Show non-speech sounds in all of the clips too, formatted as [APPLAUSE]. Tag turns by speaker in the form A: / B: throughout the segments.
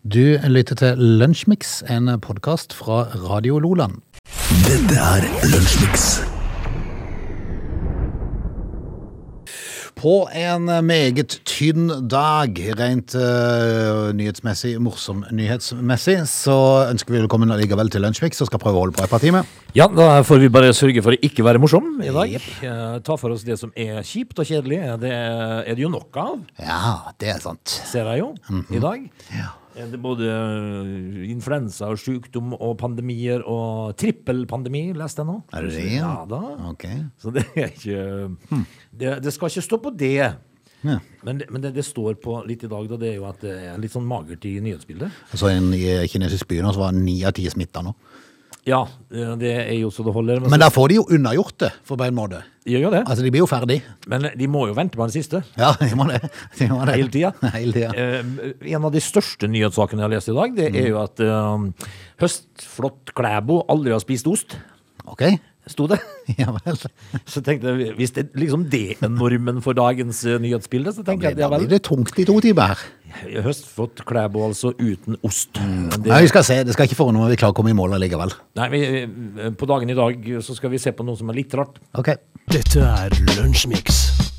A: Du lytter til Lunsjmix, en podkast fra Radio Loland.
B: Dette er Lunsjmix.
A: På en meget tynn dag, rent eh, nyhetsmessig, morsom nyhetsmessig, så ønsker vi velkommen allikevel til Lunsjmix, og skal prøve å holde på et par timer.
C: Ja, da får vi bare sørge for å ikke være morsom i dag. Eh, ta for oss det som er kjipt og kjedelig. Det er det jo nok av,
A: Ja, det er sant.
C: ser jeg jo,
A: Mhm.
C: i dag. Eh, Det er både eh, influensa og sykdom og pandemier og trippelpandemi, leste jeg nå.
A: Er det det?
C: Ja da.
A: Ok.
C: Så det er ikke det, det skal ikke stå på det.
A: Ja.
C: Men, det, men det, det står på litt i dag, da, det er jo at det er litt sånn magert i nyhetsbildet.
A: Jeg så Altså, en i kinesisk by nå, så var ni av ti smitta nå.
C: Ja, eh, det er jo så det holder. Men,
A: Men der får de jo unnagjort det, for på en måte.
C: gjør jo det.
A: Altså, de blir jo ferdig.
C: Men de må jo vente på den siste.
A: Ja, [LAUGHS] de må det. De må det.
C: Hele tida.
A: [LAUGHS] Hele tida.
C: [LAUGHS] Eh, En av de største nyhetssakene jeg har lest i dag, det er jo at eh, høstflott Klæbo aldri har spist ost,
A: Ok. [LAUGHS]
C: sto det. [LAUGHS]
A: Ja vel.
C: Så tenkte jeg, hvis det liksom det er normen for dagens eh, nyhetsbilde, så tenker jeg at
A: Da
C: ja
A: blir
C: vel.
A: det tungt i to timer her.
C: Høstflott Klæbo altså uten ost. Men
A: Mm. Nei,
C: Det,
A: vi skal se. Det skal ikke forundre meg om vi klarer å komme i mål allikevel.
C: nei, vi, eh, på dagen i dag så skal vi se på noe som er litt rart.
A: Ok.
B: Dette er Lunsjmix.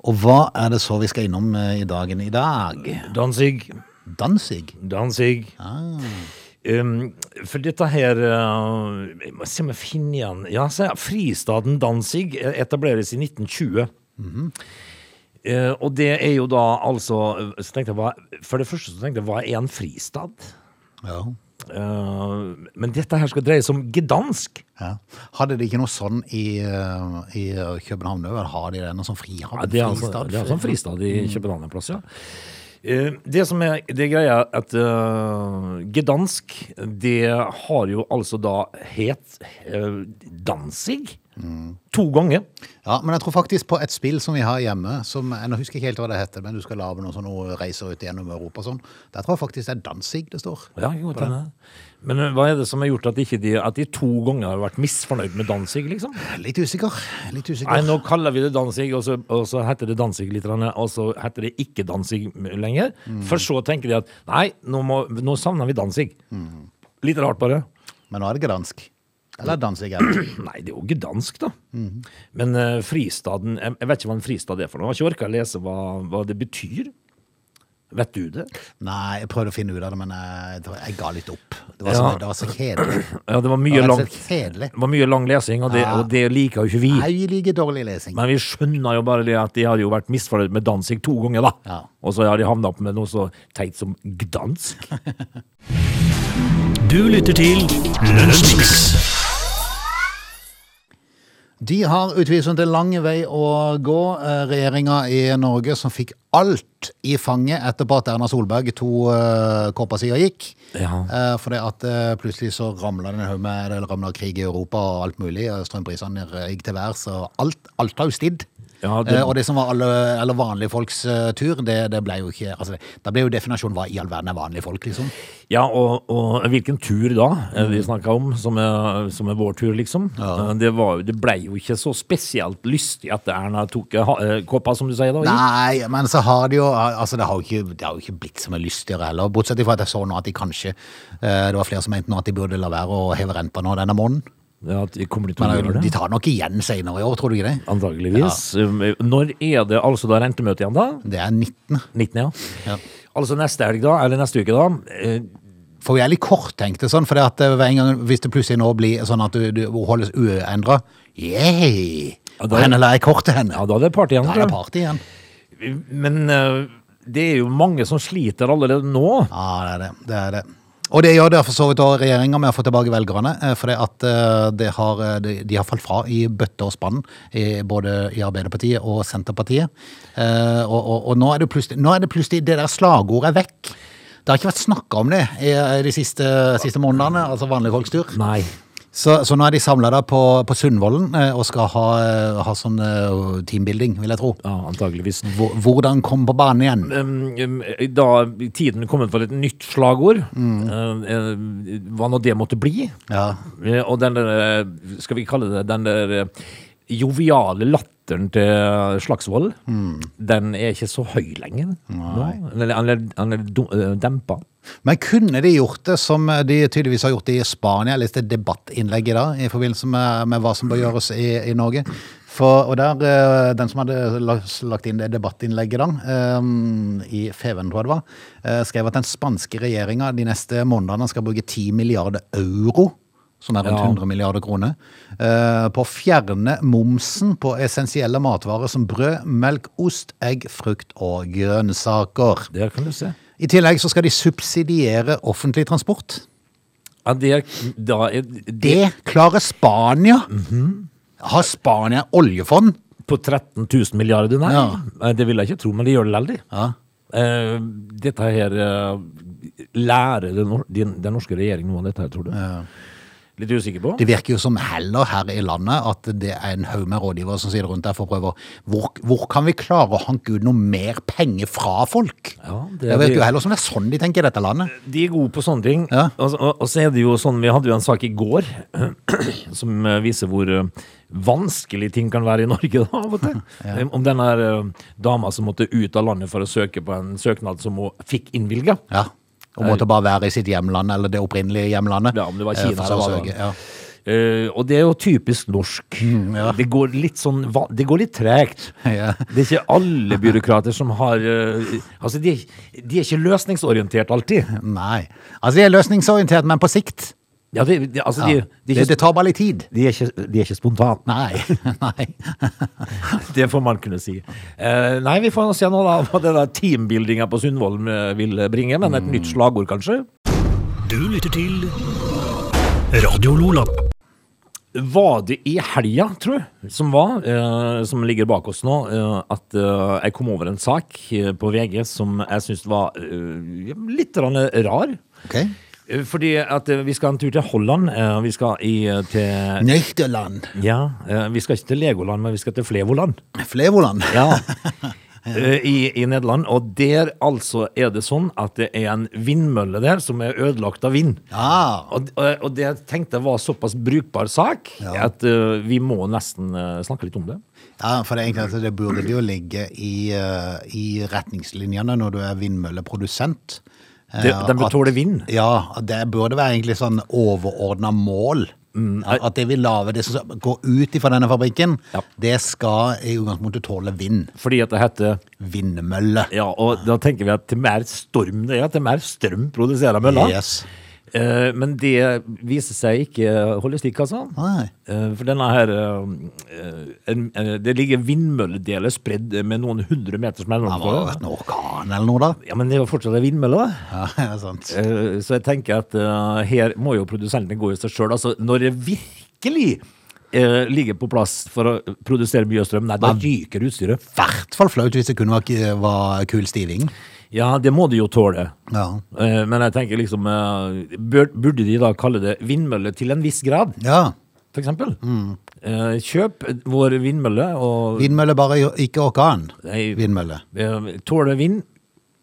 A: Og hva er det så vi skal innom eh, i dagen i dag?
C: Danzig.
A: Danzig?
C: Danzig. Um, for dette her uh, Jeg må se om jeg finner igjen Ja, se, her. Fristaden Danzig etableres i 1920. Eh, og det er jo da altså så tenkte jeg, hva, For det første så tenkte jeg hva er en fristad?
A: Ja.
C: Eh, men dette her skal dreie seg om Gdansk.
A: ja. Hadde de ikke noe sånn i, eh, i København òg? Har de det? Noe sånn frihavn?
C: Ja, det er altså,
A: fristad?
C: det er altså en fristad i København en plass, ja. Eh, Det som er det greia er at eh, Gdansk, det har jo altså da het eh, Danzig to ganger.
A: Ja, men jeg tror faktisk på et spill som vi har hjemme, som jeg nå husker jeg ikke helt hva det heter, men du skal lage noen sånne reiser ut gjennom Europa og sånn. Der tror jeg faktisk det er Danzig det står.
C: Ja, jo, det er. Men eh, hva er det som har gjort at, ikke de, at de to ganger har vært misfornøyd med Danzig, liksom?
A: Litt usikker. Litt usikker.
C: Nei, nå kaller vi det Danzig, og så, og så heter det Danzig litt, grann, og så heter det ikke Danzig lenger. For så tenker de at nei, nå, må, nå savner vi Danzig. Litt rart bare.
A: Men nå er det gdansk. Eller Danzig. er
C: [CLEARS THROAT]
A: det.
C: Nei, det er jo gdansk, da. Men eh, fristaden jeg, jeg vet ikke hva en fristad er for noe. Jeg har ikke orka å lese hva, hva det betyr. Vet du det? [CLEARS THROAT]
A: Nei, jeg prøvde å finne ut av det, men jeg, tror jeg ga litt opp. Det var,
C: Ja.
A: så, det var så kjedelig.
C: Ja, det var
A: Det
C: mye,
A: var
C: lang,
A: rett og slett kjedelig.
C: det var mye lang lesing, og det,
A: Ja.
C: og det liker jo ikke vi.
A: Nei, vi liker dårlig lesing.
C: Men vi skjønner jo bare det at de har jo vært misfornøyd med Danzig to ganger, da.
A: Ja.
C: Og så har de havna opp med noe så teit som gdansk.
B: Du lytter til Lunsjmix.
A: De har utvilsomt en lang vei å gå. Eh, Regjeringa i Norge som fikk alt i fanget etterpå at Erna Solberg to eh, kopper siden gikk.
C: Ja.
A: Eh, Fordi at eh, plutselig så ramla den haug med eller ramlet krig i Europa og alt mulig. og Strømprisene gikk til værs, og alt, alt har jo stidd.
C: Ja, det-
A: Eh, og det som var alle, eller vanlige folks eh, tur, det, det ble jo ikke altså, Da ble jo definasjonen hva i all verden er vanlige folk, liksom.
C: Ja, og, og hvilken tur da eh,
A: Mm.
C: vi snakka om, som er, som er vår tur, liksom. Eh, Det, var, jo- det blei jo ikke så spesielt lystig at Erna tok eh, ha- eh, koppa, som du sier da. i.
A: Nei, men så har det jo altså det, har jo ikke, det har jo ikke blitt så mye lystigere heller. Bortsett fra at jeg så nå at de kanskje eh, Det var flere som mente nå at de burde la være å heve renta nå denne måneden.
C: Ja, at- kommer de til å
A: Men
C: gjøre
A: de
C: det?
A: tar nok igjen senere i år, tror du ikke det?
C: Antageligvis. Eh, Når er det altså da rentemøte igjen, da?
A: Det er 19.
C: 19., ja.
A: Ja.
C: Altså neste helg, da? Eller neste uke, da? Eh,
A: For vi er litt korttenkte sånn, for det at eh, hver en gang, hvis det plutselig nå blir sånn at du, du holdes uendra Yeah!
C: Ja,
A: Og
C: da-
A: henne la jeg kort til henne.
C: Ja, da er det party igjen.
A: Da er
C: tror
A: det
C: jeg.
A: party igjen.
C: Men eh, det er jo mange som sliter allerede nå.
A: Ja, det er det. det, er det. Og det gjør det for så vidt også regjeringa med å få tilbake velgerne. For at eh, det har, eh, de, de har falt fra i bøtte og spann, i, både i Arbeiderpartiet og Senterpartiet. Eh, og og, og nå, er det plutselig, nå er det plutselig Det der slagordet er vekk. Det har ikke vært snakka om det i, i de siste, siste månedene, altså vanlige folks tur.
C: Nei.
A: Så, så nå er de samla på, på Sundvolden eh, og skal ha, eh, ha sånn eh, teambuilding, vil jeg tro.
C: Ja, antageligvis.
A: Hvor- Hvordan komme på banen igjen?
C: Um, um, da tiden kommet for et nytt slagord,
A: Mm.
C: eh, eh, hva nå det måtte bli,
A: Ja.
C: Eh, og den der, eh, skal vi kalle det den der eh, joviale latteren til Slagsvold,
A: Hmm.
C: den er ikke så høy lenger. Nei. Han er, han er dum- eh, dempa.
A: Men kunne de gjort det som de tydeligvis har gjort i Spania? Jeg leste et debattinnlegg i dag i forbindelse med, med hva som bør gjøres i, i Norge. For, og der, eh, Den som hadde la- lagt inn det debattinnlegget, da, eh, i Feven, tror jeg det var, eh, skrev at den spanske regjeringa de neste månedene skal bruke 10 milliarder euro, som er rundt
C: Ja.
A: 100 milliarder kroner, eh, på å fjerne momsen på essensielle matvarer som brød, melk, ost, egg, frukt og grønnsaker.
C: Der kan du se.
A: I tillegg så skal de subsidiere offentlig transport.
C: Ja, der, da er, det
A: Det klarer Spania!
C: Mhm.
A: Har Spania oljefond?
C: på 13 000 milliarder, nei. Eh, Det vil jeg ikke tro, men de gjør det likevel.
A: Ja.
C: Eh, dette her eh, lærer den, nor- den, den norske regjeringen noe om dette her, tror du? Litt usikker på?
A: Det virker jo som heller her i landet at det er en haug med rådgivere som sitter rundt der for å prøve å hvor, hvor kan vi klare å hanke ut noe mer penger fra folk?
C: Ja, det
A: det,
C: er de-
A: virker jo heller som det er sånn de tenker i dette landet.
C: De er gode på sånne ting.
A: Ja.
C: Og, og, og så er det jo sånn, Vi hadde jo en sak i går [CLEARS THROAT] som eh, viser hvor eh, vanskelig ting kan være i Norge. da, av og
A: [LAUGHS]
C: til. Eh, Om den her eh, dama som måtte ut av landet for å søke på en søknad som hun fikk innvilga.
A: Ja. Og måtte bare være i sitt hjemland, eller det opprinnelige hjemlandet.
C: Ja, om det var
A: eh,
C: Kina
A: for
C: det
A: å
C: var, da.
A: søke, ja.
C: Eh, og det er jo typisk norsk. Det går litt sånn va- Det går litt tregt.
A: Mm, [LAUGHS] Ja.
C: Det er ikke alle byråkrater som har eh, Altså, de, de er ikke løsningsorientert alltid.
A: Nei. Altså, de er løsningsorientert, men på sikt.
C: Ja, de, de, altså,
A: Ja.
C: de, de, er
A: det, det
C: ikke,
A: tar bare litt tid.
C: de er ikke, de er ikke spontane.
A: Nei. [LAUGHS] Nei.
C: Det får man kunne si. Eh, nei, vi får nå se nå da hva det der teambuildinga på Sundvolden eh, vil bringe, men et nytt slagord kanskje.
B: Du lytter til Radio Lola.
C: Var det i helga, tror jeg, som var, eh, som ligger bak oss nå, eh, at eh, jeg kom over en sak eh, på VG som jeg syns var eh, litt grann rar.
A: Ok.
C: Eh, Fordi at eh, vi skal en tur til Holland. eh, Vi skal i, eh, til
A: Nøyterland.
C: Ja, eh, vi skal ikke til Legoland, men vi skal til Flevoland.
A: Flevoland.
C: Ja. Eh, I, I Nederland. Og der altså er det sånn at det er en vindmølle der som er ødelagt av vind.
A: Ah.
C: Og, eh, og og det jeg tenkte var såpass brukbar sak
A: Ja.
C: at eh, vi må nesten eh, snakke litt om det.
A: Ja, for det, er egentlig, at det burde jo ligge i, eh, i retningslinjene når du er vindmølleprodusent. Eh,
C: Det- den bør
A: at-
C: tåle vind.
A: Ja, det burde være egentlig sånn overordna mål. At at det vi lager, det som går ut ifra denne fabrikken,
C: Mm, Ja.
A: det skal i utgangspunktet tåle vind.
C: Fordi at det heter
A: Vindmølle.
C: Ja, og da tenker vi at til mer storm det er, til mer strøm produserer mølla.
A: Yes.
C: Eh, men det viser seg ikke holde stikk, altså.
A: Nei.
C: Eh, for denne her eh, en, eh, Det ligger vindmølledeler spredd med noen hundre meters
A: Det
C: mellomrom.
A: må jo ha vært en orkan eller noe, da.
C: Ja, men det var fortsatt en vindmølle, da.
A: Ja, [LAUGHS] det er sant.
C: Eh, Så jeg tenker at eh, her må jo produsentene gå i seg sjøl. Altså, når det virkelig eh, ligger på plass for å produsere mye strøm, nei, da ryker utstyret.
A: I hvert fall flaut hvis det kun var, var kul stiving.
C: Ja, det må de jo tåle.
A: Ja.
C: Eh, Men jeg tenker liksom eh, bør- Burde de da kalle det vindmølle til en viss grad,
A: ja.
C: for eksempel? Eh, Kjøp vår vindmølle og
A: Vindmølle, bare ikke orkan.
C: Nei.
A: Vindmølle.
C: eh, tåle vind.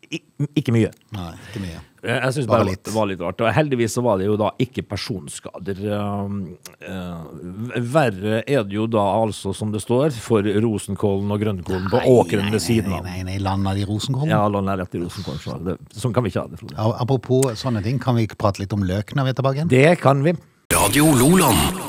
C: I- Ikke mye.
A: Nei, ikke mye.
C: Eh, Jeg synes
A: Bare
C: bare det var-
A: litt.
C: det var litt rart. Og heldigvis så var det jo da ikke personskader. Um, eh, v- Verre er det jo da altså, som det står, for rosenkålen og grønnkålen på åkeren ved siden av.
A: Nei, nei, nei, landa de rosenkålen.
C: Ja, la den rett i rosenkålen. så det- Sånn kan vi ikke ha det, Frode.
A: Ja, Apropos sånne ting, kan vi ikke prate litt om løk når vi er tilbake igjen?
C: Det kan vi.
B: Radio Loland.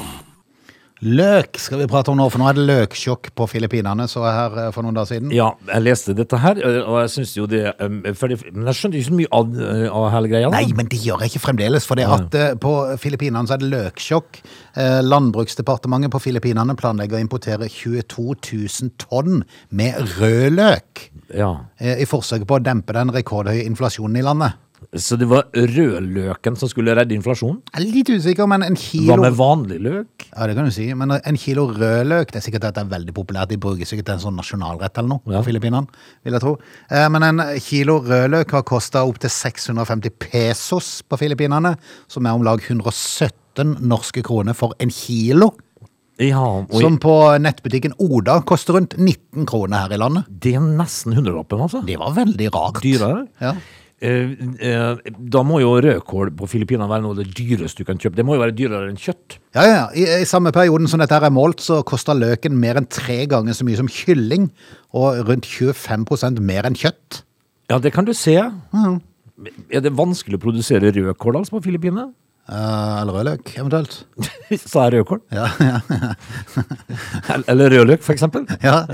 A: Løk skal vi prate om nå, for nå er det løksjokk på Filippinene, så jeg her eh, for noen dager siden.
C: Ja, jeg leste dette her, eh, og jeg synes jo det um, for det- Men jeg skjønte ikke så mye av, eh, av hele greia. da.
A: Nei, men det gjør jeg ikke fremdeles, for det at eh, på Filippinene så er det løksjokk. Eh, Landbruksdepartementet på Filippinene planlegger å importere 22 000 tonn med rød løk
C: Ja.
A: eh, i forsøket på å dempe den rekordhøye inflasjonen i landet.
C: Så det var rødløken som skulle redde inflasjonen?
A: Jeg er litt usikker, men en
C: Hva
A: kilo
C: med vanlig løk?
A: Ja, det kan du si. Men en kilo rødløk det er sikkert at det er veldig populært. De bruker sikkert en sånn nasjonalrett eller noe
C: Ja.
A: på Filippinene, vil jeg tro. Eh, Men en kilo rødløk har kosta opptil 650 pesos på Filippinene, som er om lag 117 norske kroner for en kilo.
C: Ja, og
A: Som på nettbutikken Oda koster rundt 19 kroner her i landet.
C: det er nesten hundrelappen, altså.
A: Det var veldig rart.
C: dyrere.
A: Ja.
C: Eh, eh, Da må jo rødkål på Filippinene være noe av det dyreste du kan kjøpe. Det må jo være dyrere enn kjøtt.
A: Ja, ja, ja. I, I samme perioden som dette her er målt, så koster løken mer enn tre ganger så mye som kylling, og rundt 25 mer enn kjøtt.
C: Ja, det kan du se.
A: Mhm.
C: Er det vanskelig å produsere rødkål altså på Filippinene? [LAUGHS]
A: Eh, eller rødløk, eventuelt.
C: Sa jeg rødkål?
A: Ja, ja.
C: [LAUGHS] Eller rødløk, for eksempel?
A: [LAUGHS] ja.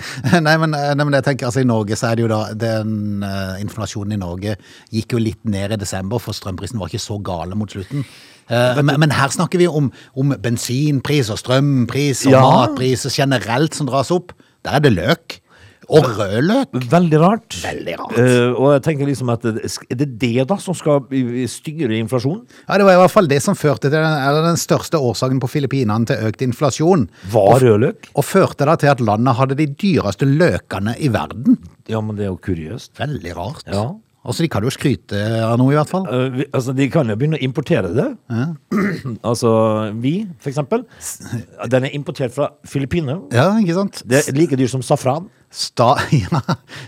A: Nei, men, nei, men jeg tenker, altså i Norge så er det jo da, den eh, inflasjonen i Norge gikk jo litt ned i desember, for strømprisen var ikke så gale mot slutten. Eh, men, men her snakker vi om, om bensinpris og strømpris og
C: Ja.
A: matpriser generelt som dras opp. Der er det løk. Og rødløk.
C: Veldig rart.
A: Veldig rart.
C: Eh, og jeg tenker liksom at det- Er det det da som skal eh, styre inflasjonen?
A: Ja, Det var i hvert fall det som førte til den, eller den største årsaken på Filippinene til økt inflasjon.
C: Var rødløk?
A: Og førte da til at landet hadde de dyreste løkene i verden.
C: Ja, men det er jo kuriøst.
A: Veldig rart.
C: Ja.
A: Altså, de kan jo skryte av noe, i hvert fall.
C: Eh, vi, altså, de kan jo begynne å importere det. [CLEARS THROAT] altså vi, for eksempel. Den er importert fra Filippinene.
A: Ja, ikke sant?
C: Det er like dyr som safran.
A: Sta [LAUGHS] ja.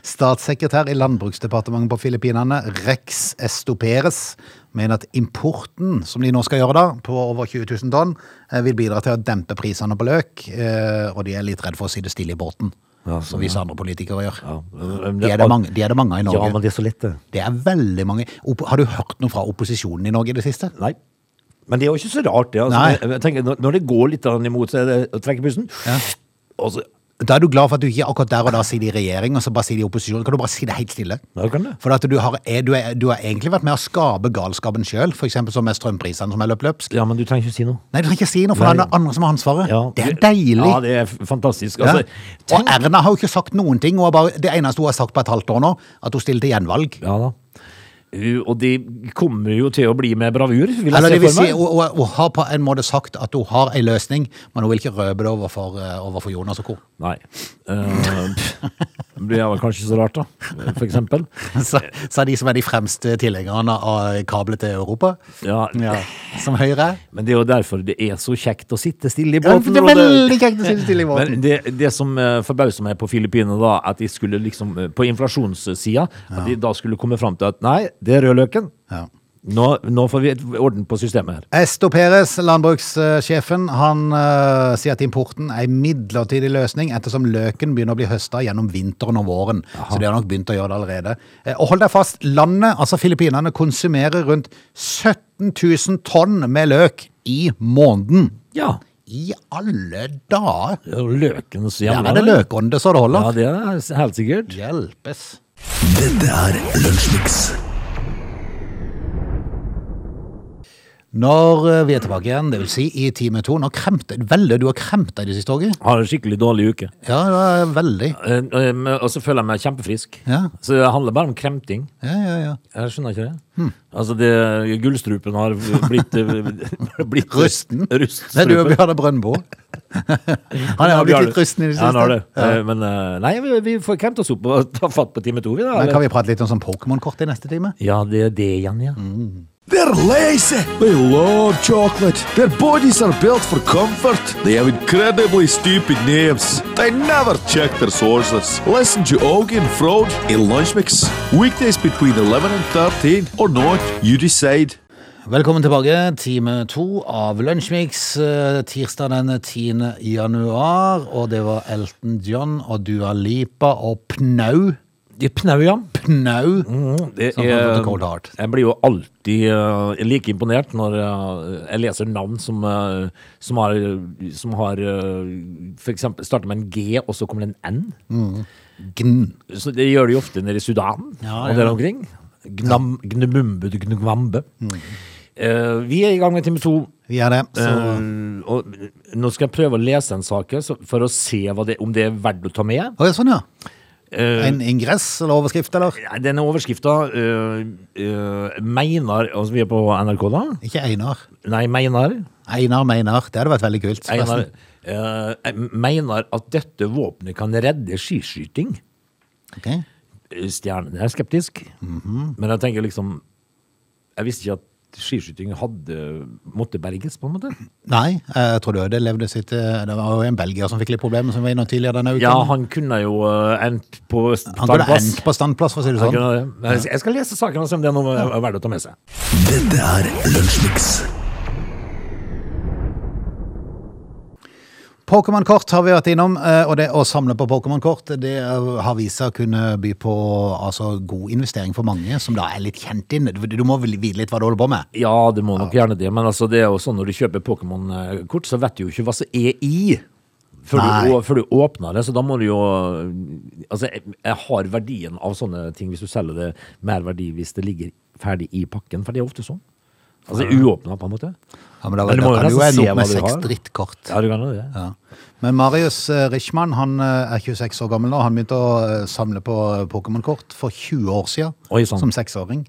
A: Statssekretær i Landbruksdepartementet på Filippinene, Rex Estoperes, mener at importen, som de nå skal gjøre da, på over 20 000 tonn, eh, vil bidra til å dempe prisene på løk, eh, og de er litt redd for å sitte stille i båten,
C: Ja, sånn,
A: som visse andre politikere gjør.
C: Ja, eh,
A: De er det mange, de er det mange av i
C: Ja, men
A: Norge.
C: de er så lette.
A: Det er veldig mange. Opp- Har du hørt noe fra opposisjonen i Norge i det siste?
C: Nei. Men det er jo ikke så rart, det. Altså,
A: Nei.
C: Jeg- jeg tenker, når- når det går litt grann imot, så er det å trekke pusten. Og så,
A: Da er du glad for at du ikke akkurat der og da sitter i regjering, og så bare sitter i opposisjon. Kan du bare si det helt stille?
C: ja, kan det.
A: For at du har, er, du, er, du har egentlig vært med å skape galskapen sjøl, f.eks. som med strømprisene som er løpt løpsk.
C: ja, men du trenger ikke si noe.
A: Nei, du trenger ikke si noe, for
C: Nei.
A: det er det andre som har ansvaret.
C: Ja.
A: Det er deilig.
C: Ja, det er f- fantastisk.
A: Ja.
C: Altså,
A: Og Erna har jo ikke sagt noen ting. Hun har bare, det eneste hun har sagt på et halvt år nå, at hun stiller til gjenvalg.
C: ja da. Uh, Og de kommer jo til å bli med bravur, vil jeg
A: Eller det
C: se
A: vil
C: for
A: si,
C: meg.
A: hun, hun, hun har på en måte sagt at hun har ei løsning, men hun vil ikke røpe det overfor, eh, overfor Jonas og co. [LAUGHS]
C: Nei. Uh, pff, det er vel kanskje så rart, da. For eksempel.
A: Så, så er de som er de fremste tilhengerne av kablet til Europa,
C: Ja.
A: ja, [LAUGHS] som Høyre er.
C: Men det er jo derfor det er så kjekt å sitte stille i
A: Ja,
C: båten.
A: det er
C: og
A: [LAUGHS]
C: det-
A: veldig kjekt å sitte stille i båten.
C: Men det, det som eh, forbauser meg på Filippinene, da, at de skulle liksom eh, på inflasjonssida, at de da skulle komme fram til at nei, det er rødløken.
A: Ja.
C: Nå, nå får vi et- orden på systemet her.
A: Esto Peres, landbrukssjefen, han eh, sier at importen er en midlertidig løsning ettersom løken begynner å bli høsta gjennom vinteren og våren. Så de har nok begynt å gjøre det allerede. Eh, og hold deg fast, landet, altså Filippinene, konsumerer rundt 17 000 tonn med løk i måneden.
C: Ja.
A: I alle dager!
C: det er jo Løkens
A: Der
C: hjemland.
A: er det løkånde så det
C: Ja,
A: holder.
C: det er helt sikkert.
A: Hjelpes.
B: Dette er Lunsjmix.
A: Når eh, vi er tilbake igjen, det vil si i time to, nå kremte veldig du har kremta i det siste året.
C: Har en skikkelig dårlig uke.
A: Ja, det var veldig.
C: Eh, eh, men- Og så føler jeg meg kjempefrisk.
A: Ja.
C: Så det handler bare om kremting.
A: Ja, ja, ja.
C: Jeg skjønner ikke det.
A: Hm.
C: Altså, det, gullstrupen har blitt, eh, [LAUGHS]
A: [LAUGHS]
C: blitt
A: Rusten. Det er du og
C: Ruststrupen.
A: Bjarne Brøndbo.
C: [LAUGHS]
A: Han har blitt litt rusten i det
C: Ja, han har det.
A: siste.
C: Eh, Men eh, nei, vi, vi får kremt oss opp og ta fatt på time to, vi da.
A: Men
C: eller?
A: kan vi prate litt om sånn Pokémon-kort i neste time?
C: Ja, det er det igjen, ja.
A: Mm.
D: They're lazy. They love chocolate. Their bodies are built for comfort. They have incredibly stupid names. They never check their sources. Listen to Augie and Frode in Lunch Mix. Weekdays between 11 and 13 or not, you decide.
A: Velkommen tilbake, time to av Lunsjmix. eh, Tirsdag den 10. januar. Og det var Elton John og Dua Lipa og Pnau.
C: Det er Pnau, ja.
A: Pnau.
C: Det
A: Som har fått en cold heart.
C: jeg blir jo alltid eh, like imponert når eh, jeg leser navn som, eh, som har, som har eh, for eksempel starter med en G, og så kommer det en N.
A: Gn.
C: Så det gjør de jo ofte nede i Sudan
A: Ja,
C: og
A: ja.
C: der omkring. Gnam, Gnumumbe, Gnugvambe. Eh, vi er i gang med time to.
A: Vi er det. Så
C: Eh, og nå skal jeg prøve å lese en sak her, så- for å se hva det, om det er verdt å ta med.
A: Å ja, sånn, ja.
C: Eh,
A: En ingress eller overskrift, eller?
C: Nei, Denne overskrifta uh, Meinar altså Vi er på NRK, da?
A: Ikke Einar.
C: Nei, Meinar.
A: Einar Meinar. Det hadde vært veldig kult.
C: Einar
A: forresten.
C: eh, Meinar at dette våpenet kan redde skiskyting. Eh,
A: Ok. Mhm.
C: Stjernen er skeptisk, men jeg tenker liksom Jeg visste ikke at skiskyting hadde måtte berges, på en måte.
A: Nei, eh, jeg tror du ødelevde sitt eh, Det var jo en belgier som fikk litt problemer, som var innom tidligere denne uken.
C: Ja, han kunne jo eh, endt på
A: han kunne
C: standplass.
A: endt på standplass, for å si det
C: Han
A: sånn.
C: kunne det. Jeg jeg skal lese saken og se om det er noe eh, verdt å ta med seg.
B: Dette er Lunsjmix.
A: Pokémon-kort har vi vært innom, eh, og det å samle på Pokémon-kort det eh, har vist seg å kunne by på altså, god investering for mange, som da er litt kjent inn. Du, du må vel vite litt hva du holder på med.
C: Ja, det må nok gjerne det, men altså, det er jo sånn når du kjøper Pokémon-kort, så vet du jo ikke hva som er i. Før
A: Nei.
C: du, å- før du åpner det, så da må du jo Altså, jeg, jeg har verdien av sånne ting hvis du selger det, mer verdi hvis det ligger ferdig i pakken, for det er ofte sånn. Altså uåpna, på en måte.
A: Ja, men da,
C: Men du
A: da
C: må jo
A: kan du jo
C: nesten se
A: ende opp med
C: hva du
A: seks
C: har.
A: drittkort.
C: Ja, du kan jo det.
A: Ja. Men Marius eh, Richman han eh, er 26 år gammel nå. Han begynte å eh, samle på eh, Pokémon-kort for 20 år siden,
C: Oi, sant.
A: som seksåring.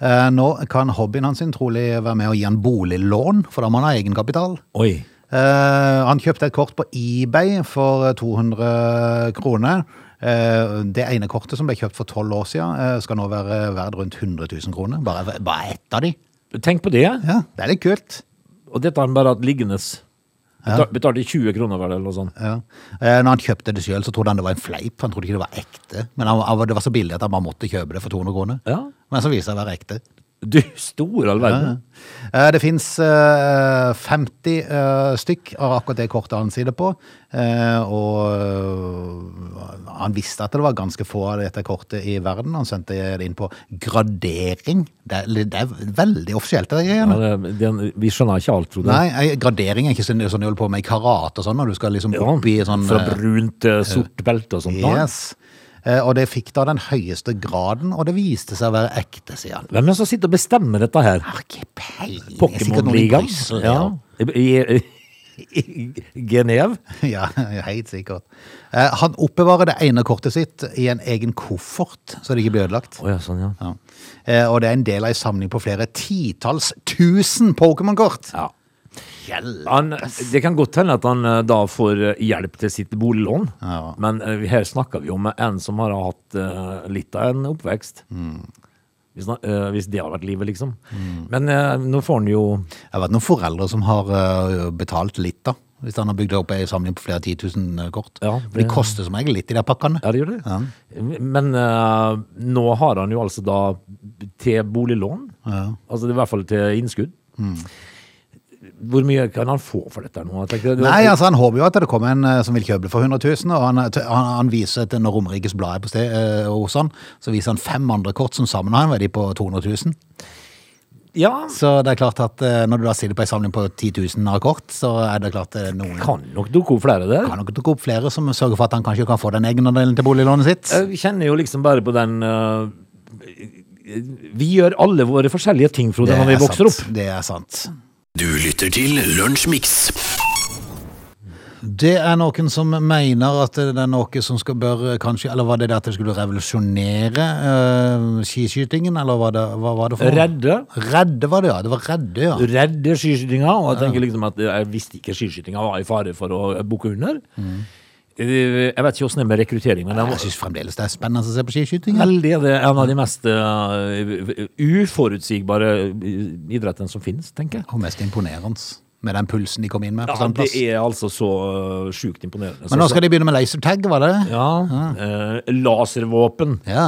A: Eh, Nå kan hobbyen hans sin trolig være med å gi en boliglån, for da må han ha egenkapital.
C: Oi.
A: Eh, han kjøpte et kort på eBay for 200 kroner. Eh, det ene kortet som ble kjøpt for 12 år siden, eh, skal nå være verdt rundt 100 000 kroner. Bare, bare ett av de.
C: Tenk på det.
A: Ja, det er litt kult.
C: Og dette har han bare hatt liggende. Betal, Betalte 20 kroner vel, eller noe sånt.
A: Ja. Eh, Når han kjøpte det sjøl, trodde han det var en fleip. Han trodde ikke det var ekte. Men han, han, det var så billig at han bare måtte kjøpe det for 200 kroner.
C: Ja.
A: Men så viser det seg å være ekte.
C: Du store all verden.
A: Eh, Det fins 50 eh, stykk av akkurat det kortet han sier det på. Eh, Og eh, han visste at det var ganske få av dette kortet i verden. Han sendte det inn på gradering. Det er, det er veldig offisielt, det greiene.
C: Ja, det, den- vi skjønner ikke alt, Frode.
A: Nei, eh, gradering er ikke sånn sånn du holder på med i karate og sånn, når du skal liksom
C: Ja,
A: opp i sånn
C: Fra
A: eh,
C: brunt til sort belte og sånt. da.
A: Yes. Eh, Og det fikk da den høyeste graden, og det viste seg å være ekte, sier han.
C: Hvem er det som sitter og bestemmer dette her?
A: Har ikke peiling. Sikkert noen i
C: Pokémon-ligaen?
A: Brussel,
C: Ja. I, i, i Genev?
A: [LAUGHS] Ja, helt sikkert. Eh, Han oppbevarer det ene kortet sitt i en egen koffert, så det ikke blir ødelagt.
C: Å ja, sånn, ja.
A: Ja. Eh, Og det er en del av en samling på flere titalls tusen Pokémon-kort.
C: ja.
A: Hjelp.
C: Han, det kan godt hende at han eh, da får eh, hjelp til sitt boliglån,
A: Ja.
C: men eh, her snakker vi om en som har hatt eh, litt av en oppvekst.
A: Mm.
C: Hvis, han- eh, hvis det har vært livet, liksom. Men eh, nå får han jo
A: Jeg vet noen foreldre som har eh, betalt litt, da. Hvis han har bygd opp ei samling på flere titusen eh, kort.
C: Ja,
A: For
C: det-
A: det koster som regel litt, de der pakkene.
C: Ja, det gjør det.
A: Ja.
C: Men eh, nå har han jo altså da til boliglån.
A: Ja. Mm.
C: Altså i hvert fall til innskudd. Hvor mye kan han få for dette nå? Jeg tenker, det-
A: Nei, altså han håper jo at det kommer en eh, som vil kjøpe det for 100 000, og han, han, han viser til når Romerikes Blad er på sted eh, hos han, så viser han fem andre kort som sammen har en verdi på 200 000.
C: Ja,
A: Så det er klart at eh, når du da sitter på en samling på 10 000 av kort, så er det klart eh, noen
C: kan nok dukke opp flere der.
A: kan nok dukke opp flere som sørger for at han kanskje kan få den egenandelen til boliglånet sitt.
C: Jeg kjenner jo liksom bare på den eh, Vi gjør alle våre forskjellige ting, Frode, når vi vokser
A: sant.
C: opp.
A: Det er sant.
B: Du lytter til Lunsjmix.
A: Det er noen som mener at det er noe som skal bør eh, kanskje Eller var det det at det skulle revolusjonere eh, skiskytingen, eller var det, hva var det for noe?
C: Redde.
A: Redde var det, ja. Det var redde, ja.
C: Redde skiskytinga. Og jeg tenker liksom at jeg visste ikke skiskytinga var i fare for å bukke under.
A: Mm.
C: Eh, Jeg vet ikke åssen det er med rekruttering, men den
A: Jeg
C: var
A: syns fremdeles det er spennende å se på skiskyting. ja.
C: Veldig. Det er en av de mest eh, uforutsigbare idrettene som finnes, tenker jeg.
A: Og mest imponerende med den pulsen de kom inn med på
C: Ja, det
A: standplass.
C: er altså så eh, sjukt imponerende.
A: Men nå skal de begynne med lasertag, var det?
C: ja, eh, Laservåpen.
A: Ja.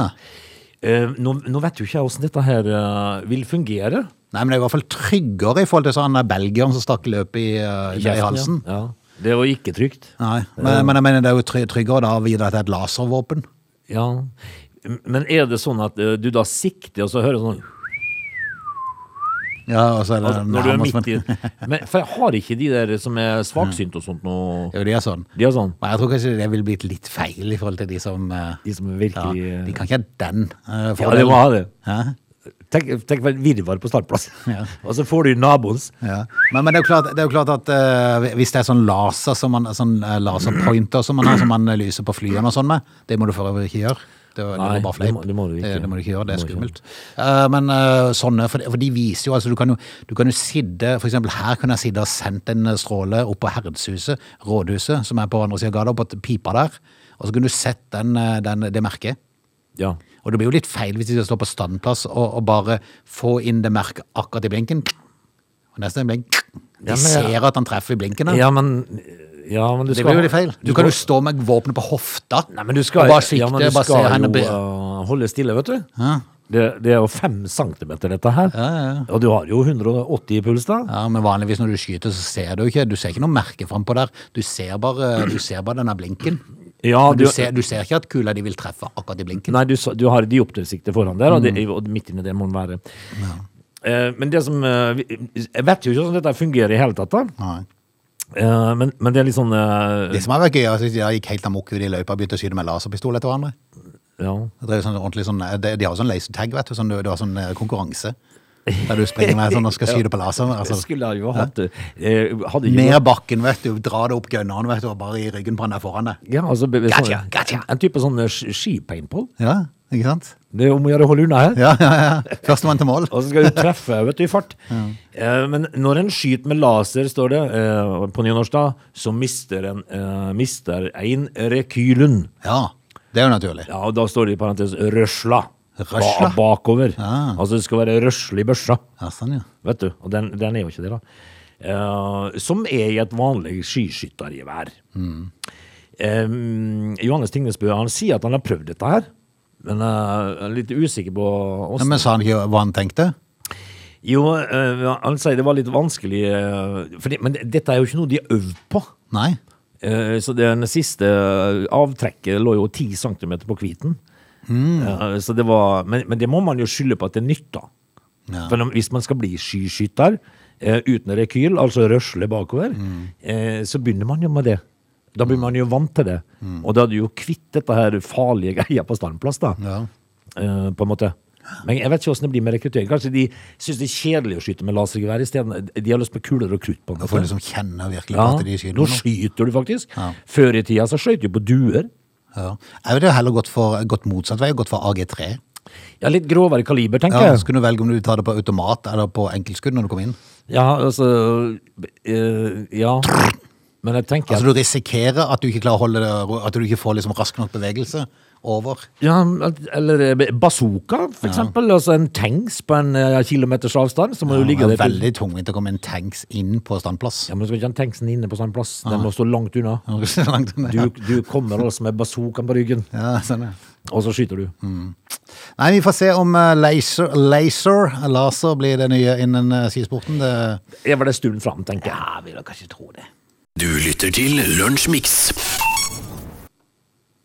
C: Eh, nå, nå vet jo ikke jeg åssen dette her eh, vil fungere.
A: Nei, men det er i hvert fall tryggere i forhold til sånn der belgieren som stakk løpet i, eh, i halsen.
C: Ja. Ja. Det var ikke trygt.
A: Nei, men, men jeg mener det er jo try- tryggere da å vite at det er et laservåpen.
C: Ja. Men er det sånn at eh, du da sikter, og så hører du sånn
A: Ja, og så er det
C: altså, Når du er
A: nærmest-
C: midt i Men For jeg har ikke de der som er svaksynte og sånt nå.
A: [LAUGHS] Jo, de er sånn.
C: De er sånn
A: Men jeg tror kanskje det ville blitt litt feil i forhold til de som eh,
C: De som
A: ja,
C: virkelig
A: De kan ikke ha den uh,
C: Ja, det må ha det.
A: Hæ?
C: Tenk, tenk for et virvar på startplass.
A: [LAUGHS] Ja.
C: [LAUGHS] Og så får du naboens.
A: Ja. Men, men det, er jo klart, det er jo klart at eh, hvis det er sånn laser som man, sånn eh, laserpointer som man har, som man lyser på flyene og sånn med, det må du for øvrig ikke gjøre. Det, det
C: Nei,
A: var bare fleip.
C: det må- det må du ikke.
A: det, må du ikke gjøre, det er
C: Det må du
A: skummelt.
C: ikke
A: Eh, men eh, sånne, for, for de viser jo, altså du kan jo, du kan jo sidde, for eksempel her kunne jeg sidde og sendt en eh, stråle opp på Herredshuset, rådhuset, som er på andre siden av gata, opp på pipa der, og så kunne du sett den, eh, den, det merket.
C: Ja.
A: Og det blir jo litt feil hvis de står på standplass og, og bare får inn det merket akkurat i blinken. Og nesten en blink. De
C: Ja, men-
A: ser at han treffer i blinken. da.
C: Ja, men, ja, men du
A: det
C: skal
A: blir jo litt feil. Du, kan jo stå med våpenet på hofta
C: Nei, men du skal,
A: og bare sikte.
C: ja, men du
A: bare se
C: skal
A: henne
C: jo
A: bre-
C: eh, holde stille, vet du. Det, det er jo fem centimeter, dette her. Og du har jo 180 i puls, da.
A: Ja, men vanligvis når du skyter, så ser du ikke Du ser ikke noe merke frampå der. Du ser bare, du ser bare denne blinken.
C: Ja,
A: Men Du ser, du ser ikke at kula de vil treffe akkurat i blinken.
C: Nei, du, sa- du har dioptersikte foran der, og, det, og midt inni det må den være. Eh, men det som eh, vi- Jeg vet jo ikke hvordan dette fungerer i hele tatt, da.
A: Nei.
C: Eh, men, men det er litt sånn eh,
A: Det som har vært gøy, er at de der gikk helt amok ut i løypa og begynte å skyte med laserpistol etter hverandre.
C: Ja.
A: Det drev sånn ordentlig sånn, de, de har jo sånn lasertag, vet du. Sånn, det var sånn eh, konkurranse. Der du springer med sånn og skal skyte på laser. Altså,
C: Skulle jeg jo hatt det. Eh, hadde ikke-
A: ned bakken, vet du. Dra det opp gunneren, vet du, og bare i ryggen på han der foran deg.
C: Ja, altså, be- be-
A: Gotcha,
C: sånn-
A: gotcha.
C: En type sånn eh, sk- skipaintball.
A: Ja, ikke sant?
C: Det er om å gjøre å holde unna her.
A: Ja, ja, ja. Førstemann til mål.
C: Og så skal du treffe vet du, i fart. Eh, men når en skyter med laser, står det eh, på nynorsk, da, så mister en, eh, mister en rekylen.
A: Ja, det er jo naturlig.
C: Ja, og da står det i parentes røsla.
A: Røsla?
C: Ba bakover.
A: Ah.
C: Altså det skal være røsle i børsa,
A: Ja, sånn, ja.
C: vet du. Og den, den er jo ikke det, da. Eh, som er i et vanlig skiskyttergevær. Eh, Johannes Tingnesbø han sier at han har prøvd dette her, men eh, er litt usikker på åssen
A: ja men sa han ikke hva han tenkte?
C: Jo, eh, han sier det var litt vanskelig, eh, fordi- men dette er jo ikke noe de har øvd på.
A: Nei.
C: Eh, Så den siste avtrekket lå jo 10 cm på kviten.
A: Mm.
C: Eh, Så det var, men, men det må man jo skylde på at det nytta.
A: Ja.
C: For når- hvis man skal bli skiskytter eh, uten rekyl, altså røsle bakover,
A: Mm.
C: eh, så begynner man jo med det. Da blir man jo vant til det.
A: Mm.
C: Og da er du jo kvitt dette her farlige [LAUGHS] greia på standplass, da.
A: Ja.
C: Eh, på en måte. Men jeg vet ikke åssen det blir med rekruttering. Kanskje de syns det er kjedelig å skyte med lasergevær isteden. De har lyst på kuler og krutt. på en
A: Og
C: måte.
A: for liksom kjenne virkelig
C: Ja,
A: at de skyter
C: nå
A: med noe.
C: skyter du faktisk.
A: Ja.
C: Før i tida så skjøt du på duer.
A: Ja. Jeg ville heller gått for gått motsatt vei, gått for AG3.
C: Ja, litt grovere kaliber,
A: Ja, Så
C: tenker jeg.
A: kunne du velge om du tar det på automat eller på enkeltskudd når du kommer inn.
C: Ja, altså eh, Ja. Men jeg tenker
A: Altså Du risikerer at du ikke klarer å holde det, at du ikke får liksom rask nok bevegelse over.
C: ja, Eller eh, bazooka, for eksempel. Altså en tanks på en eh, kilometers avstand. Så må du
A: Det
C: ligge
A: er
C: der til-
A: veldig tungvint å komme en tanks inn på standplass.
C: Ja, men du skal ikke ha tanksen inne på sånn plass. Den må stå langt unna.
A: [LAUGHS] Langt unna,
C: Du,
A: ja.
C: du kommer altså med bazookaen på ryggen,
A: Ja, sånn, ja.
C: og så skyter du.
A: Nei, vi får se om eh, laser, laser, eh, laser blir det nye innen eh, skisporten. Det,
C: Er vel en stund fram, tenker jeg. Ja, vil jeg kanskje tro det.
B: Du lytter til Lunsjmix.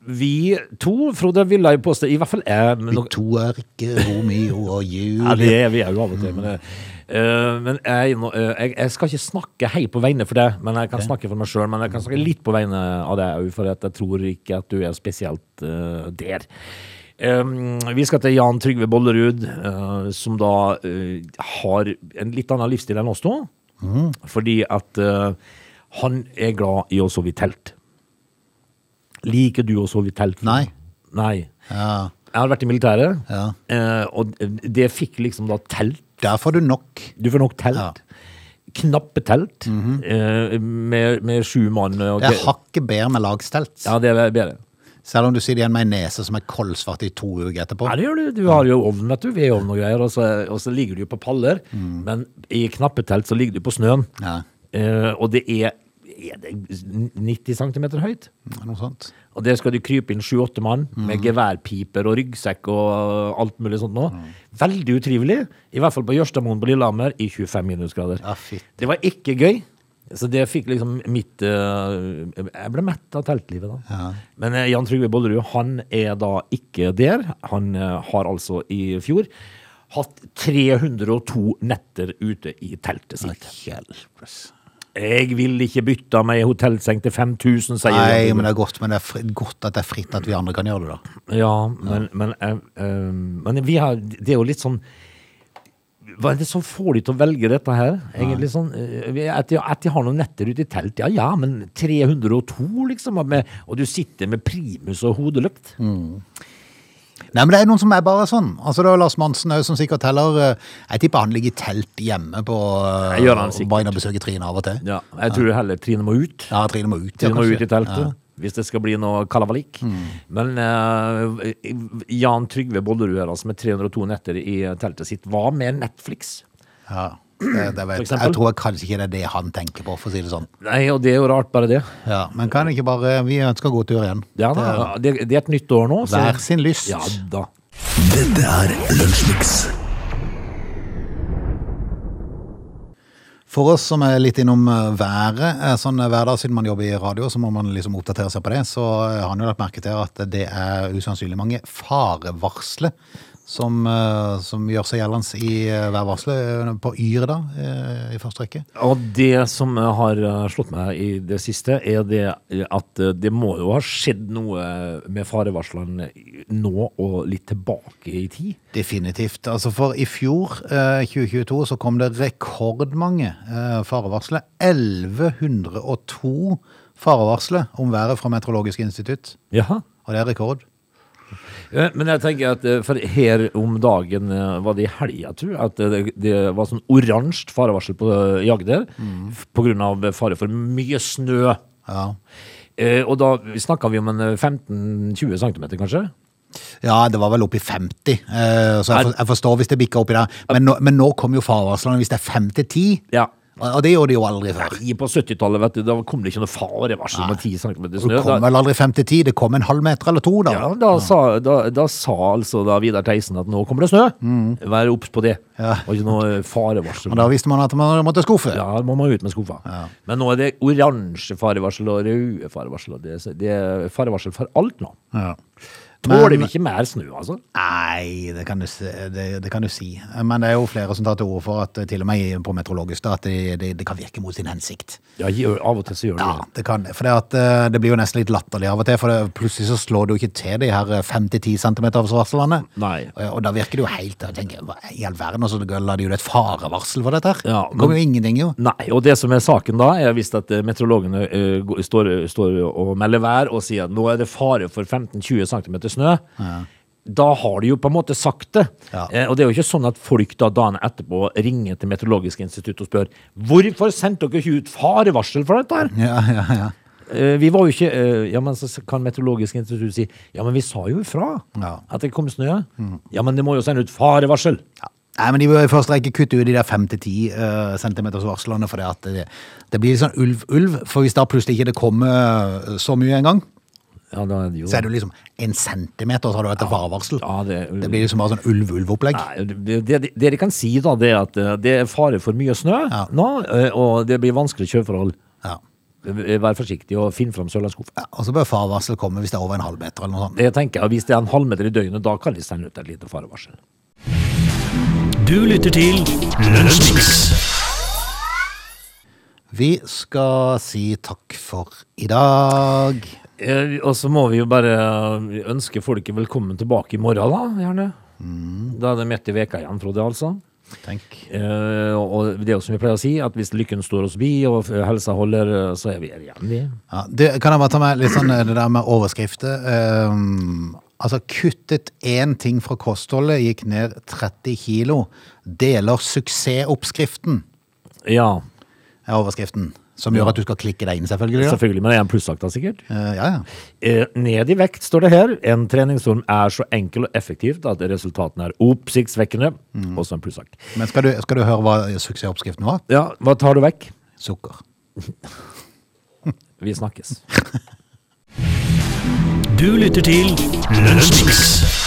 C: Vi to, Frode, ville jo påstå I hvert fall jeg. men
A: vi
C: nå-
A: to er ikke Romeo og
C: [LAUGHS] Ja, det
A: Julie.
C: er vi er jo av og til. Men, eh, men jeg, nå- eh, jeg, jeg skal ikke snakke hei på vegne for deg, men jeg kan snakke for meg sjøl. Men jeg kan snakke litt på vegne av deg òg, for at jeg tror ikke at du er spesielt eh, der. Um, vi skal til Jan Trygve Bollerud, eh, som da eh, har en litt annen livsstil enn oss to. Fordi at eh, han er glad i å sove i telt. Liker du å sove i telt?
A: Nei.
C: Nei.
A: Ja,
C: Jeg har vært i militæret,
A: Ja.
C: eh, og det fikk liksom da telt.
A: der får du nok.
C: Du får nok telt.
A: Ja. Mhm.
C: Knappe telt eh, med, med sju mann. Og
A: Det er hakket bedre med lagstelt.
C: Ja, det er bedre.
A: Selv om du sitter igjen med en nese som er koldsvart i to uker etterpå.
C: Ja, det gjør du. Du har jo ovn, vet du. Vedovn og greier, og så, og så ligger du jo på paller. Men i knappetelt så ligger du på snøen.
A: Mm. Ja.
C: Eh, og det er, er det 90 cm høyt.
A: Noe sånt.
C: Og der skal du krype inn sju-åtte mann
A: Mhm.
C: med geværpiper og ryggsekk og alt mulig sånt nå. Veldig utrivelig. I hvert fall på Jørstadmoen på Lillehammer i 25 minusgrader.
A: Ja, fytti.
C: det var ikke gøy. Så det fikk liksom mitt eh, Jeg ble mett av teltlivet da. Men eh, Jan Trygve Bollerud, han er da ikke der. Han eh, har altså i fjor hatt 302 netter ute i teltet sitt. Jeg vil ikke bytte meg hotellseng til 5000, sier Jan
A: Nei,
C: Trygve.
A: men det er godt, men det er fri, godt at det er fritt at vi andre kan gjøre det, da.
C: Ja, men, men, eh, eh, men vi har, det er jo litt sånn Hva er det som får de til å velge dette her? Egentlig sånn, eh, vi- at, de, at de har noen netter ute i telt, ja ja, men 302 liksom, og med, og du sitter med primus og hodelykt.
A: Nei, men det er noen som er bare sånn. Altså, det er Lars Monsen òg, som sikkert heller eh, Jeg tipper han ligger i telt hjemme på eh,
C: Jeg gjør han
A: og Bare inn og besøker Trine av og til.
C: Ja, jeg tror heller Trine må ut.
A: Ja, Trine må ut. ja,
C: Trine må
A: kanskje.
C: ut i teltet.
A: Ja.
C: hvis det skal bli noe kalabalik. Men eh, Jan Trygve Bollerud her, altså, med 302 netter i teltet sitt, hva med Netflix?
A: Ja, det, det
C: For
A: vet.
C: eksempel?
A: Jeg tror kanskje ikke det er det han tenker på, for å si det sånn.
C: Nei, og det er jo rart, bare det.
A: Ja, men kan ikke bare Vi ønsker god tur igjen.
C: Ja, da, det, det er et nytt år nå. så-
A: Hver sin lyst.
C: Ja da.
B: Dette er Lunsjmix.
A: For oss som er litt innom eh, været, eh, sånn eh, hver dag siden man jobber i radio, så må man liksom oppdatere seg på det, så eh, har man jo lagt merke til at det er usannsynlig mange farevarsler som, eh, som gjør seg gjeldende i eh, værvarselet eh, på Yr da, eh, i første rekke.
C: Og det som eh, har eh, slått meg i det siste, er det eh, at eh, det må jo ha skjedd noe med farevarslene nå og litt tilbake i tid.
A: Definitivt. Altså for i fjor, eh, 2022, så kom det rekordmange eh, farevarsler. 1102 farevarsler om været fra Meteorologisk institutt,
C: Jaha.
A: og det er rekord.
C: Eh, Men jeg tenker at eh, for her om dagen eh, var det i helga, tror jeg, at eh, det, det var sånn oransje farevarsel på eh, i Agder f- på grunn av fare for mye snø.
A: Ja.
C: Eh, og da snakka vi om en eh, 15-20 cm, kanskje?
A: Ja, det var vel opp i 50, eh, så jeg, for, jeg forstår hvis det bikker oppi der. Men nå, men nå kom jo farvarslene hvis det er 5 til 10,
C: Ja.
A: og, og det gjorde de jo aldri før.
C: I- På 70-tallet vet du, da kom det ikke noe farevarsel med 10 cm snø.
A: Det
C: Da-
A: kom vel aldri 5 til 10, det kom en halv meter eller to da.
C: Ja, da, Sa, da, da sa altså da Vidar Theisen at nå kommer det snø. Vær obs på det.
A: Ja.
C: Og ikke noe farevarsel.
A: Og da visste man at man måtte skuffe.
C: Ja, må man ut med skuffa. Men nå er det oransje farevarsel og røde farevarsel. Og det, det er farevarsel for alt nå.
A: Ja.
C: Tåler vi ikke mer snø, altså?
A: Nei, det kan, du, si- det, det kan du si. Men det er jo flere som tar til orde for at eh, til og med på meteorologisk da, at det, det, det kan virke mot sin hensikt.
C: Ja, gjør, Av og til så gjør det
A: Ja, det kan det. For det, at, eh, det blir jo nesten litt latterlig av og til, for det, plutselig så slår det jo ikke til de her eh, 5-10 cm varslene.
C: Nei.
A: Og, og da virker det jo helt, jeg tenker, hva i all verden, og så la de jo et farevarsel for dette her.
C: Ja,
A: det kommer
C: men-
A: jo ingenting jo.
C: Nei, og det som er saken da, er hvis at eh, meteorologene eh, går- står, står og melder vær og sier at nå er det fare for 15-20 cm snø, da har de jo på en måte sagt det.
A: Ja.
C: Eh, og det er jo ikke sånn at folk da dagen etterpå ringer til Meteorologisk institutt og spør hvorfor sendte dere ikke ut farevarsel for dette her?
A: Ja, ja, ja.
C: Eh, vi var jo ikke eh, Ja, men så kan Meteorologisk institutt si ja, men vi sa jo ifra
A: Ja. Mm.
C: at det kom snø. Ja, men det må jo sende ut farevarsel.
A: Ja. Nei, men de bør i første rekke kutte ut de der 5-10 uh, centimeters varslene, for det, at det, det blir litt sånn ulv-ulv, for hvis da plutselig ikke det kommer eh, så mye en gang,
C: Ja, da er det jo
A: så er det jo liksom en centimeter, så har du et farevarsel.
C: ja, det-
A: det blir liksom bare sånn ulv-ulv-opplegg.
C: Nei, det, det, det de kan si da, det er at eh, det er fare for mye snø
A: Ja.
C: nå, eh, og det blir vanskelig kjøreforhold.
A: Ja.
C: Eh, Vær forsiktig og finn fram sørlandsskuffen.
A: Ja, og så bør farevarsel komme hvis det er over en halv meter eller noe sånt.
C: Det tenker jeg, Hvis det er en halvmeter i døgnet, da kan de sende ut et lite farevarsel.
B: Du lytter til Lunsjmix.
A: Vi skal si takk for i dag.
C: Eh, Og så må vi jo bare eh, ønske folket velkommen tilbake i morgen, da. gjerne.
A: Mm.
C: Da er det midt i veka igjen, Frode, altså.
A: Tenk.
C: Eh, og det er jo som vi pleier å si, at hvis lykken står oss bi og eh, helsa holder, eh, så er vi her igjen, vi.
A: Ja, du, kan jeg bare ta med litt sånn eh, det der med overskrifter? Ehm, altså, kuttet én ting fra kostholdet, gikk ned 30 kilo. Deler suksessoppskriften,
C: Ja,
A: er overskriften. Som gjør at du skal klikke deg inn, selvfølgelig. da.
C: selvfølgelig. Men det er en plussak, da, sikkert.
A: Eh, ja, ja.
C: Eh, Ned i vekt, står det her. En treningsform er så enkel og effektiv at resultatene er oppsiktsvekkende. Også en plussak.
A: Men skal du, skal du høre hva suksessoppskriften var?
C: Ja, hva tar du vekk?
A: Sukker.
C: Vi snakkes.
B: Du lytter til Lunsjmix.